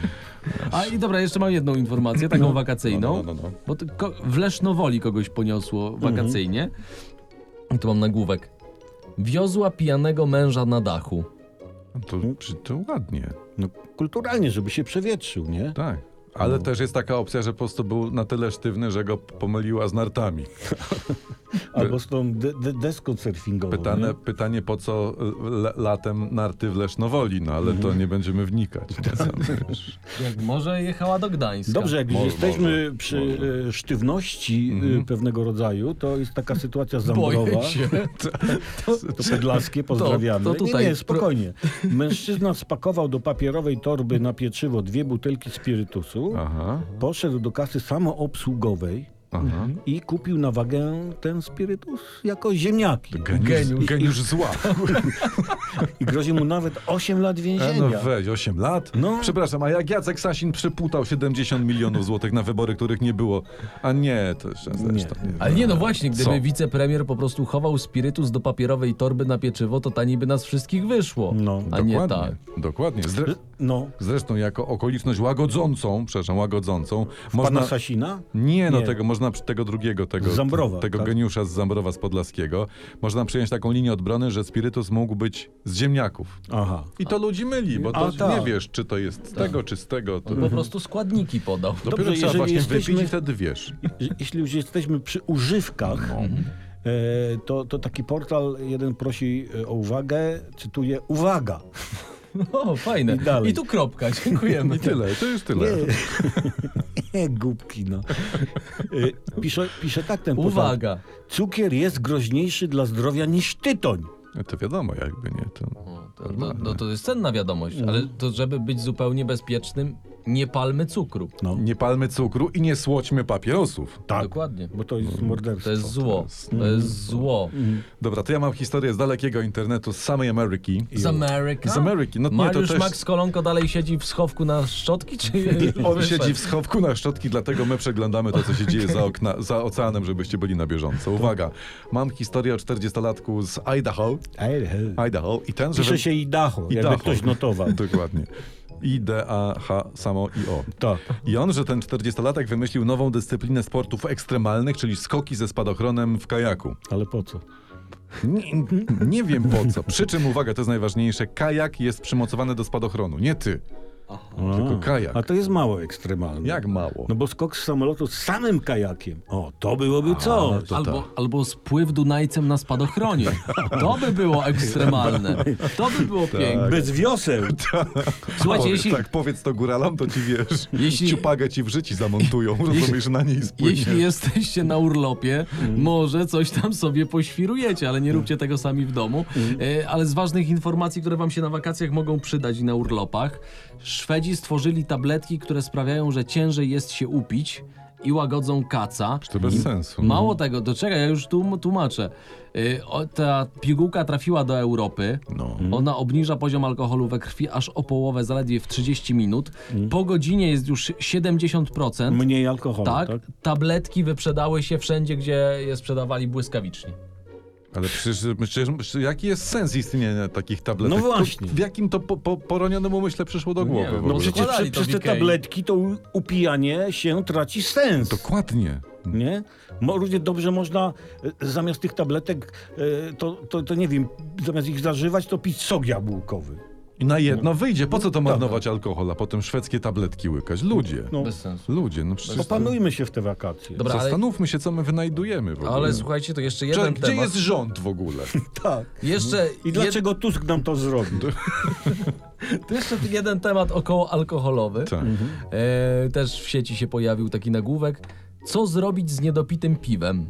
B: A i dobra, jeszcze mam jedną informację, taką wakacyjną.
A: no, Mhm. no, no, no.
B: Bo to ko- w Lesznowoli kogoś poniosło wakacyjnie.
F: Tu mam nagłówek. Wiozła pijanego męża na dachu.
A: To, przy- to ładnie,
C: No, kulturalnie, żeby się przewietrzył, nie?
A: tak. Ale też jest taka opcja, że po prostu był na tyle sztywny, że go pomyliła z nartami.
C: Albo z tą de- de- deską surfingową.
A: Pytane,
C: nie?
A: pytanie, po co le, latem narty w Lesznowoli, no ale to nie będziemy wnikać. [laughs] Wiesz.
F: Jak może jechała do Gdańska.
C: Dobrze, jak już
A: Może,
C: jesteśmy
A: może,
C: przy e, sztywności e, pewnego rodzaju, to jest taka sytuacja zambrowa.
F: Boję się.
C: To Podlaskie, pozdrawiamy.
F: to tutaj
C: nie, nie,
F: pro-
C: spokojnie. Mężczyzna spakował do papierowej torby na pieczywo dwie butelki spirytusu,
A: Aha,
C: poszedł do kasy samoobsługowej
A: aha.
C: i kupił na wagę ten spirytus jako ziemniaki.
A: Geniusz, geniusz zła.
C: I grozi mu nawet 8 lat
A: E, No
C: więzienia.
A: weź, 8 lat?
C: No.
A: Przepraszam, a jak Jacek Sasin przyputał 70 milionów złotych na wybory, których nie było? A nie, to jeszcze zresztą nie.
F: Ale nie, no właśnie, gdyby
A: Co?
F: wicepremier po prostu chował spirytus do papierowej torby na pieczywo, to taniej by nas wszystkich wyszło.
C: No,
F: a
A: Dokładnie,
F: nie tak.
A: dokładnie. Zre-
C: No,
A: zresztą jako okoliczność łagodzącą, przepraszam, łagodzącą,
C: pana
A: można...
C: Sasina?
A: Nie, no
C: Nie.
A: tego można przy tego drugiego, tego,
C: Z Zambrowa,
A: tego
C: tak?
A: geniusza z Zambrowa z Podlaskiego, można przyjąć taką linię odbrony, że spirytus mógł być z ziemniaków.
C: Aha.
A: I to ludzi myli, bo
C: A,
A: to nie
C: tak.
A: wiesz, czy to jest z tego, czy z tego. To...
F: Po prostu składniki
A: [laughs]
F: podał.
A: Dopiero
C: Dobrze,
A: trzeba
C: jeżeli
A: właśnie wypić
C: jesteśmy-
A: i wtedy wiesz.
C: Je- Jeśli już jesteśmy przy używkach, e, to, to taki portal jeden prosi e, o uwagę, cytuję, uwaga.
F: O, fajne.
C: I dalej.
F: I tu kropka, dziękujemy.
A: I tyle, to już tyle.
C: Nie, głupki, no. E, Pisze, pisze tak ten portal.
F: Uwaga.
C: Cukier jest groźniejszy dla zdrowia niż tytoń.
A: No To wiadomo, jakby nie. No. To...
F: No to, to, no to jest cenna wiadomość, ale to żeby być zupełnie bezpiecznym, nie palmy cukru.
C: No,
A: Nie palmy cukru i nie słodźmy papierosów.
C: tak.
F: Dokładnie.
C: Bo to jest morderstwo.
F: To jest zło. To jest zło.
A: Dobra, to ja mam historię z dalekiego internetu, z samej Ameryki.
F: Z Ameryki.
A: Z Ameryki, no nie, to
F: Mariusz
A: też-
F: Max Kolonko dalej siedzi w schowku na
A: [laughs]
F: szczotki, czy...
A: On siedzi w schowku na szczotki, dlatego my przeglądamy to, co się dzieje za, okna, za oceanem, żebyście byli na bieżąco.
C: Tak.
A: Uwaga, mam historię o 40-latku z Idaho. Idaho i ten, że...
C: Pisze się i dacho, jakby
A: Idaho.
C: ktoś notował.
A: [laughs] Dokładnie. I D, A, H, samo i O.
C: Tak.
A: I on, że ten 40-latek wymyślił nową dyscyplinę sportów ekstremalnych, czyli skoki ze spadochronem w kajaku.
C: Ale po co?
A: Nie, nie wiem po co. Przy czym uwaga, to jest najważniejsze. Kajak jest przymocowany do spadochronu. Nie ty.
C: A,
A: Tylko kajak.
C: A to jest mało ekstremalne.
A: Jak mało.
C: No bo skok z samolotu z samym kajakiem. O, to byłoby coś.
A: to
B: Albo,
A: tak.
B: albo spływ Dunajcem na spadochronie. To by było ekstremalne. To by było piękne.
C: Bez wioseł.
B: Słuchajcie,
A: Powiedz-
B: jeśli,
A: Tak, powiedz to góralom, to ci wiesz.
B: Jeśli-
A: Ciupagę ci w życiu zamontują, rozumiesz, na niej spłynie.
B: jeśli jesteście na urlopie, może coś tam sobie poświrujecie, ale nie róbcie tego sami w domu. E, Ale z ważnych informacji, które wam się na wakacjach mogą przydać i na urlopach, Szwedzi stworzyli tabletki, które sprawiają, że ciężej jest się upić i łagodzą kaca.
A: To bez sensu.
B: Mało tego, do czego ja już tu tłumaczę. Y, o, ta pigułka trafiła do Europy.
A: No.
B: Ona obniża poziom alkoholu we krwi aż o połowę, zaledwie w 30 minut. Po godzinie jest już 70%.
C: Mniej alkoholu, tak?
B: tak,
F: Tabletki wyprzedały się wszędzie, gdzie je sprzedawali błyskawicznie.
A: Ale przecież, przecież, przecież jaki jest sens istnienia takich tabletek?
C: No właśnie.
A: To, w jakim to po, po, poronionemu myśle przyszło do
F: nie
A: głowy?
F: wiem,
A: w
F: no
A: ogóle?
C: No przecież
F: Wkładali
C: prze,
F: to
C: przez
F: w
C: te
F: Ikei.
C: tabletki to u- upijanie się traci sens.
A: Dokładnie.
C: Nie? Mo, równie dobrze można e, zamiast tych tabletek, e, to, to, to nie wiem, zamiast ich zażywać, to pić sok jabłkowy.
A: I na jedno wyjdzie. Po co to marnować alkohol, a potem szwedzkie tabletki łykać? Ludzie.
C: No,
F: Bez sensu.
A: Ludzie, no przecież...
C: opanujmy się w te wakacje.
F: Dobra, ale,
A: Zastanówmy się, co my wynajdujemy w ogóle.
F: ale słuchajcie, to jeszcze
A: Że-
F: jeden
A: Gdzie
F: temat.
A: jest rząd w ogóle?
C: Tak.
F: Jeszcze,
C: I dlaczego Tusk nam to zrobił?
F: jed... jeszcze jeden temat około alkoholowy.
A: [laughs] Tak.
F: E, też w sieci się pojawił taki nagłówek. Co zrobić z niedopitym piwem?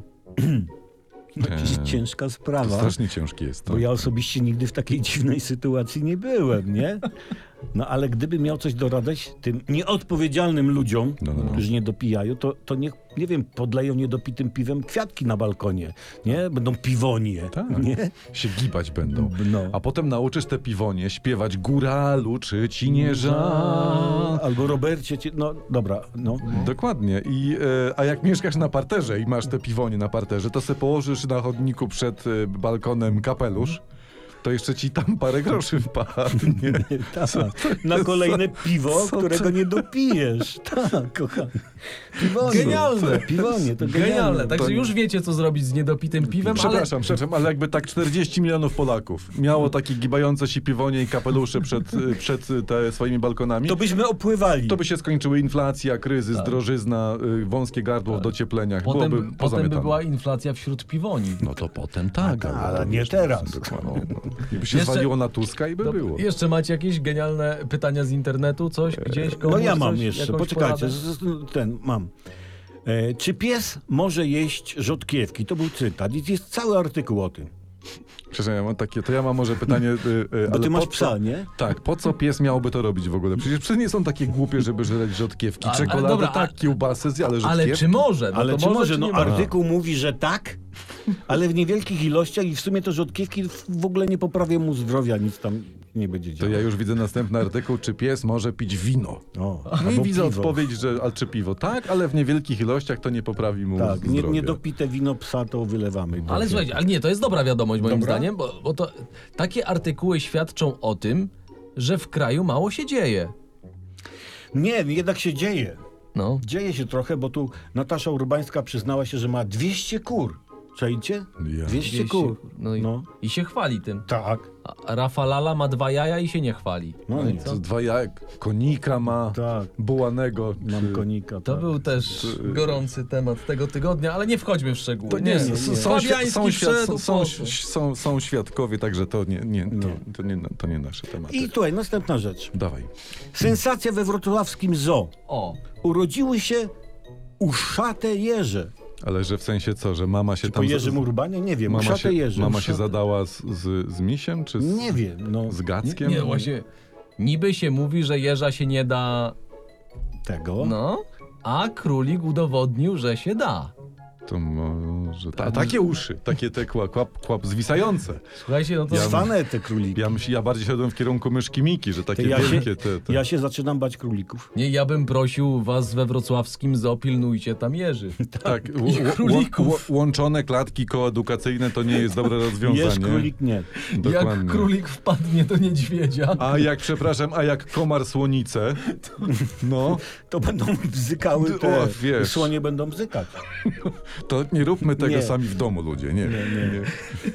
C: No, to jest ciężka
A: To
C: sprawa.
A: strasznie ciężki jest. tak. To.
C: Bo ja osobiście nigdy w takiej dziwnej sytuacji nie byłem, nie? No ale gdyby miał coś doradać tym nieodpowiedzialnym ludziom,
A: No, no, no.
C: którzy nie dopijają, to, to niech, nie wiem, podleją niedopitym piwem kwiatki na balkonie, nie? Będą piwonie,
A: Tak.
C: nie?
A: Się gibać będą.
C: No.
A: A potem nauczysz te piwonie śpiewać góralu czy cinierza.
C: Albo Robercie, ci- no dobra, no.
A: Dokładnie. I, e, a jak mieszkasz na parterze i masz te piwonie na parterze, to se położysz na chodniku przed e, balkonem kapelusz, to jeszcze ci tam parę groszy [laughs] wpadnie.
C: [laughs] Tak. Na
A: jest
C: kolejne
A: za-
C: piwo,
A: co
C: którego nie
A: [laughs]
C: dopijesz. Tak, kochany. Piwonie.
B: Genialne.
C: Piwonie, to genialne.
B: Genialne, także
A: To-
B: już wiecie, co zrobić z niedopitym piwem, ale...
A: Przepraszam, przepraszam, ale jakby tak 40 milionów Polaków miało takie gibające się piwonie i kapelusze przed, e, przed e, te swoimi balkonami,
C: To byśmy opływali.
A: to by się skończyły inflacja, kryzys, drożyzna, y, wąskie gardło w dociepleniach.
B: Tak. Potem,
A: Byłoby
B: potem by
A: pozamiatane.
B: była inflacja wśród piwoni.
A: No to potem tak.
C: ale
A: albo tam
C: nie
A: jeszcze
C: teraz.
A: są dokładnie, no. I by się
B: Jeszcze-
A: zwaliło na Tuska i by
B: Dob-
A: było.
B: Jeszcze macie jakieś genialne pytania z internetu? Coś gdzieś? Komuś,
C: No ja mam
B: coś,
C: jeszcze,
B: jakąś
C: poczekajcie,
B: poradę?
C: z, z, ten mam. E, czy pies może jeść rzodkiewki? To był cytat. Jest, jest cały artykuł o tym.
B: No
A: Przepraszam, ja mam takie, to ja mam może pytanie... y, y,
C: Bo
A: ale
C: ty masz
A: po co-
C: psa, nie?
A: Tak, po co pies miałby to robić w ogóle? Przecież psy nie są takie głupie, żeby żreć rzodkiewki,
B: Ale- ale
A: czekoladę,
B: dobra, a-
A: tak, kiełbasy, zje, ale rzodkiewki...
B: Ale czy może? No
C: Ale
B: to
C: czy może?
B: czy
C: No
B: nie
C: artykuł mówi, że tak, ale w niewielkich ilościach i w sumie to rzodkiewki w- w ogóle nie poprawią mu zdrowia, nic tam nie będzie
A: To
C: działo.
A: ja już widzę następny artykuł, czy pies może pić wino.
C: O,
A: No i
C: albo
A: widzę
C: piwo.
A: odpowiedź, że a czy piwo? Tak, ale w niewielkich ilościach to nie poprawi mu
C: Tak, nie,
A: zdrowia.
C: niedopite wino psa to wylewamy.
B: Ale słuchajcie, ale nie, to jest dobra wiadomość moim zdaniem, bo, bo to takie artykuły świadczą o tym, że w kraju mało się dzieje.
C: Nie, jednak się dzieje.
B: No.
C: Dzieje się trochę, bo tu Natasza Urbańska przyznała się, że ma 200 kur. Czajcie?
A: Ja.
C: 200 kur.
B: No i,
C: No.
B: i się chwali tym.
C: Tak.
B: A a Rafalala ma dwa jaja i się nie chwali.
C: No i
A: To Dwa jak, konika ma,
C: Tak.
A: bułanego.
C: Mam
A: czy-
C: konika.
B: To
C: tak.
B: był też gorący temat tego tygodnia, ale nie wchodźmy w szczegóły.
A: To nie,
B: nie.
A: s- Są,
B: Fabiański
A: są, świad-
B: wszedł
A: są, są,
B: po-
A: są, są świadkowie, także to nie, nie, to, to nie, to nie nasze tematy.
C: I tutaj następna rzecz.
A: Dawaj.
C: Sensacja we wrocławskim zoo.
B: O,
C: Urodziły się uszate jeże.
A: Ale że w sensie co, że mama się
C: Czy po
A: tam...
C: Jerzym Urbanie? Nie wiem.
A: mama
C: uszate
A: się,
C: jeże.
A: mama
C: uszate...
A: się zadała z, z, z misiem, czy z,
C: Nie wiem. No,
A: z Gackiem?
B: nie, właśnie. Niby się mówi, że jeża się nie da,
C: Tego.
B: no, a królik udowodnił, że się da.
A: To może... Ta, takie uszy, takie te kłap, kłap, kłap zwisające.
B: Słuchajcie, no to...
C: Zwane te króliki.
A: Ja, myśl- ja bardziej szedłem w kierunku myszki Miki, że takie
C: Ty, ja się-
A: wielkie te... te...
C: Ja się zaczynam bać królików.
B: Nie, ja bym prosił was we wrocławskim zoo, pilnujcie
A: [laughs]
B: tam jeży.
A: Tak, ł- ł-
B: królików.
A: ł- łączone klatki koedukacyjne to nie jest dobre rozwiązanie.
C: Jeż królik nie.
A: Dokładnie.
B: Jak królik wpadnie do niedźwiedzia.
A: A jak, przepraszam, a jak komar słonice, no,
C: [laughs] To będą bzykały te.
A: O, wiesz.
C: Słonie będą bzykać.
A: to nie róbmy tego
C: Nie.
A: sami w domu, ludzie, nie. nie.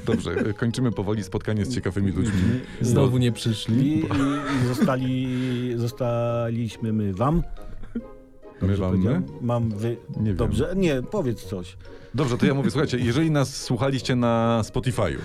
A: Dobrze, e, kończymy powoli spotkanie z ciekawymi ludźmi.
B: [laughs] Znowu nie
C: I,
B: przyszli.
C: i, i zostali, zostaliśmy my wam.
A: My
C: Dobrze
A: wam, my?
C: powiedziałem? Mam wy...
A: Nie wiem.
C: Dobrze? Nie, powiedz coś.
A: Dobrze, to ja mówię, słuchajcie, jeżeli nas słuchaliście na Spotify'u,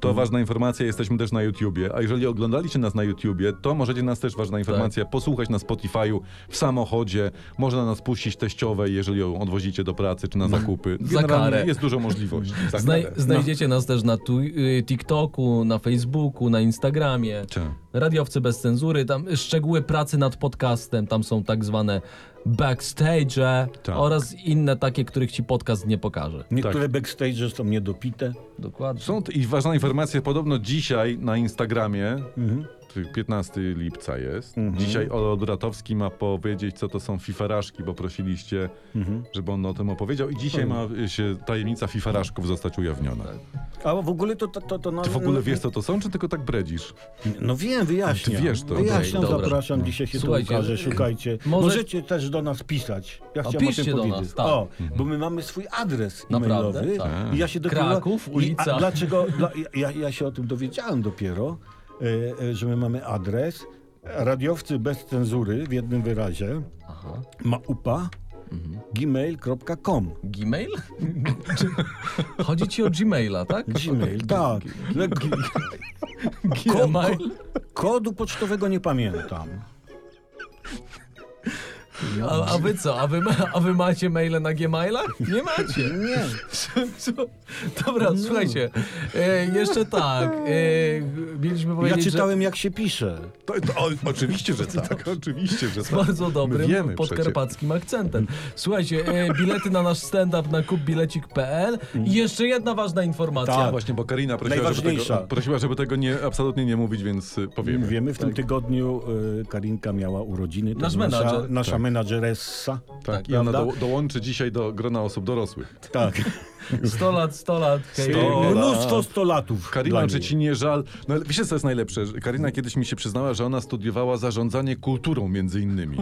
A: to ważna informacja, jesteśmy też na YouTubie, a jeżeli oglądaliście nas na YouTubie, to możecie nas też, ważna informacja, posłuchać na Spotify'u w samochodzie, można nas puścić teściowe, jeżeli ją odwozicie do pracy czy na zakupy.
B: karę.
A: jest dużo możliwości. Tak, Za
B: Znaj
A: karę.
B: znajdziecie nas też na tu y, TikToku, na Facebooku, na Instagramie.
A: Czy-
B: Radiowcy bez cenzury, tam szczegóły pracy nad podcastem, tam są tak zwane backstage e
A: Tak.
B: oraz inne takie, których ci podcast nie pokaże.
C: Niektóre backstage są niedopite.
B: Dokładnie.
A: Są t- i ważna informacja, podobno dzisiaj na Instagramie, ty- 15 lipca jest, dzisiaj Olod Ratowski ma powiedzieć, co to są fifaraszki, bo prosiliście, żeby on o tym opowiedział i dzisiaj ma y, się tajemnica fifaraszków zostać ujawniona.
C: A w ogóle to... to, to, to na-
A: Ty w ogóle wiesz, co to są, czy tylko tak bredzisz?
C: No wiem, wyjaśniam.
A: Ty wiesz to.
C: Wyjaśniam,
B: Dobra, dobra.
C: zapraszam, dzisiaj się
B: Słuchajcie, y,
C: tu ukaże, szukajcie.
B: może-
C: Możecie też do nas pisać. Ja chciałem o
B: piszcie
C: tym
B: do
C: powiedzieć.
B: nas, tak.
C: O, bo my mamy swój adres
B: Naprawdę?
C: e-mailowy.
B: Tak.
C: I ja się dopiero...
B: Kraków,
C: I,
B: ulica.
C: a, dlaczego... Dla, ja, ja się o tym dowiedziałem dopiero, e, e, że my mamy adres radiowcy bez cenzury w jednym wyrazie
B: Aha. Mhm.
C: maupa gmail.com
B: Gmail? [laughs] Czy- Chodzi ci o Gmaila, tak? [laughs]
C: Gmail, tak. No, [laughs] g- ko- ko-
B: Gmail?
C: kodu pocztowego nie pamiętam.
B: A, a wy co? A wy, ma, a wy macie maile na Gmaila? Nie macie. [laughs]
G: Nie.
B: Dobra, słuchajcie. E, jeszcze tak. E, mieliśmy
C: Ja
B: powiedzieć, że...
C: czytałem, jak się pisze.
A: To, to, o, oczywiście, [laughs] że tak. Oczywiście, że tak.
B: bardzo dobrym
A: My wiemy przecież.
B: podkarpackim akcentem. Słuchajcie, e, bilety na nasz stand-up na kupbilecik.pl i jeszcze jedna ważna informacja.
A: A właśnie, bo Karina prosiła, żeby
C: Najważniejsza.
A: tego, prosiła, żeby tego nie, absolutnie nie mówić, więc y, powiemy.
C: Wiemy, w tym tygodniu y, Karinka miała urodziny. to
B: Nasz
C: Nasza,
B: menadżer.
C: nasza menadżeressa.
A: Tak, i ona
C: prawda?
A: do, dołączy dzisiaj do grona osób dorosłych.
C: Tak.
B: 100 lat, 100 lat. hej.
A: Sto- Sto-
C: Mnóstwo stolatów. dla
A: Karina,
C: niej.
A: czy ci nie żal? No, ale wiecie, co jest najlepsze? Że Karina kiedyś mi się przyznała, że ona studiowała zarządzanie kulturą między innymi.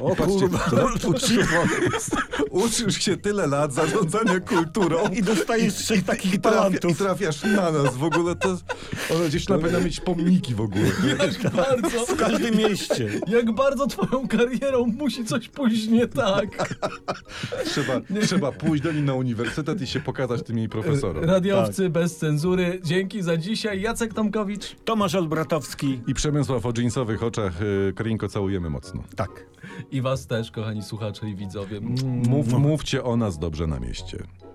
C: O kurwa.
A: uczyło [laughs] jest. Uczysz się tyle lat zarządzania kulturą
C: I dostajesz trzech takich
A: trafia, i
C: talentów.
A: trafiasz na nas w ogóle. To, ona gdzieś tam powinna mieć pomniki w ogóle.
C: [laughs]
B: Jak bardzo,
C: W każdym mieście.
B: jak bardzo twoją karierą musi coś pójść nie tak.
A: Trzeba, trzeba pójść do niej na uniwersytet i się pokazać tym jej profesorom.
B: Radiowcy bez cenzury, dzięki za dzisiaj. Jacek Tomkowicz
C: Tomasz Albratowski.
A: I Przemysław o dżinsowych oczach. y, Karinko, całujemy mocno.
C: Tak.
B: i was też, kochani słuchacze i widzowie.
C: Mm.
A: Mów, mówcie o nas dobrze na mieście.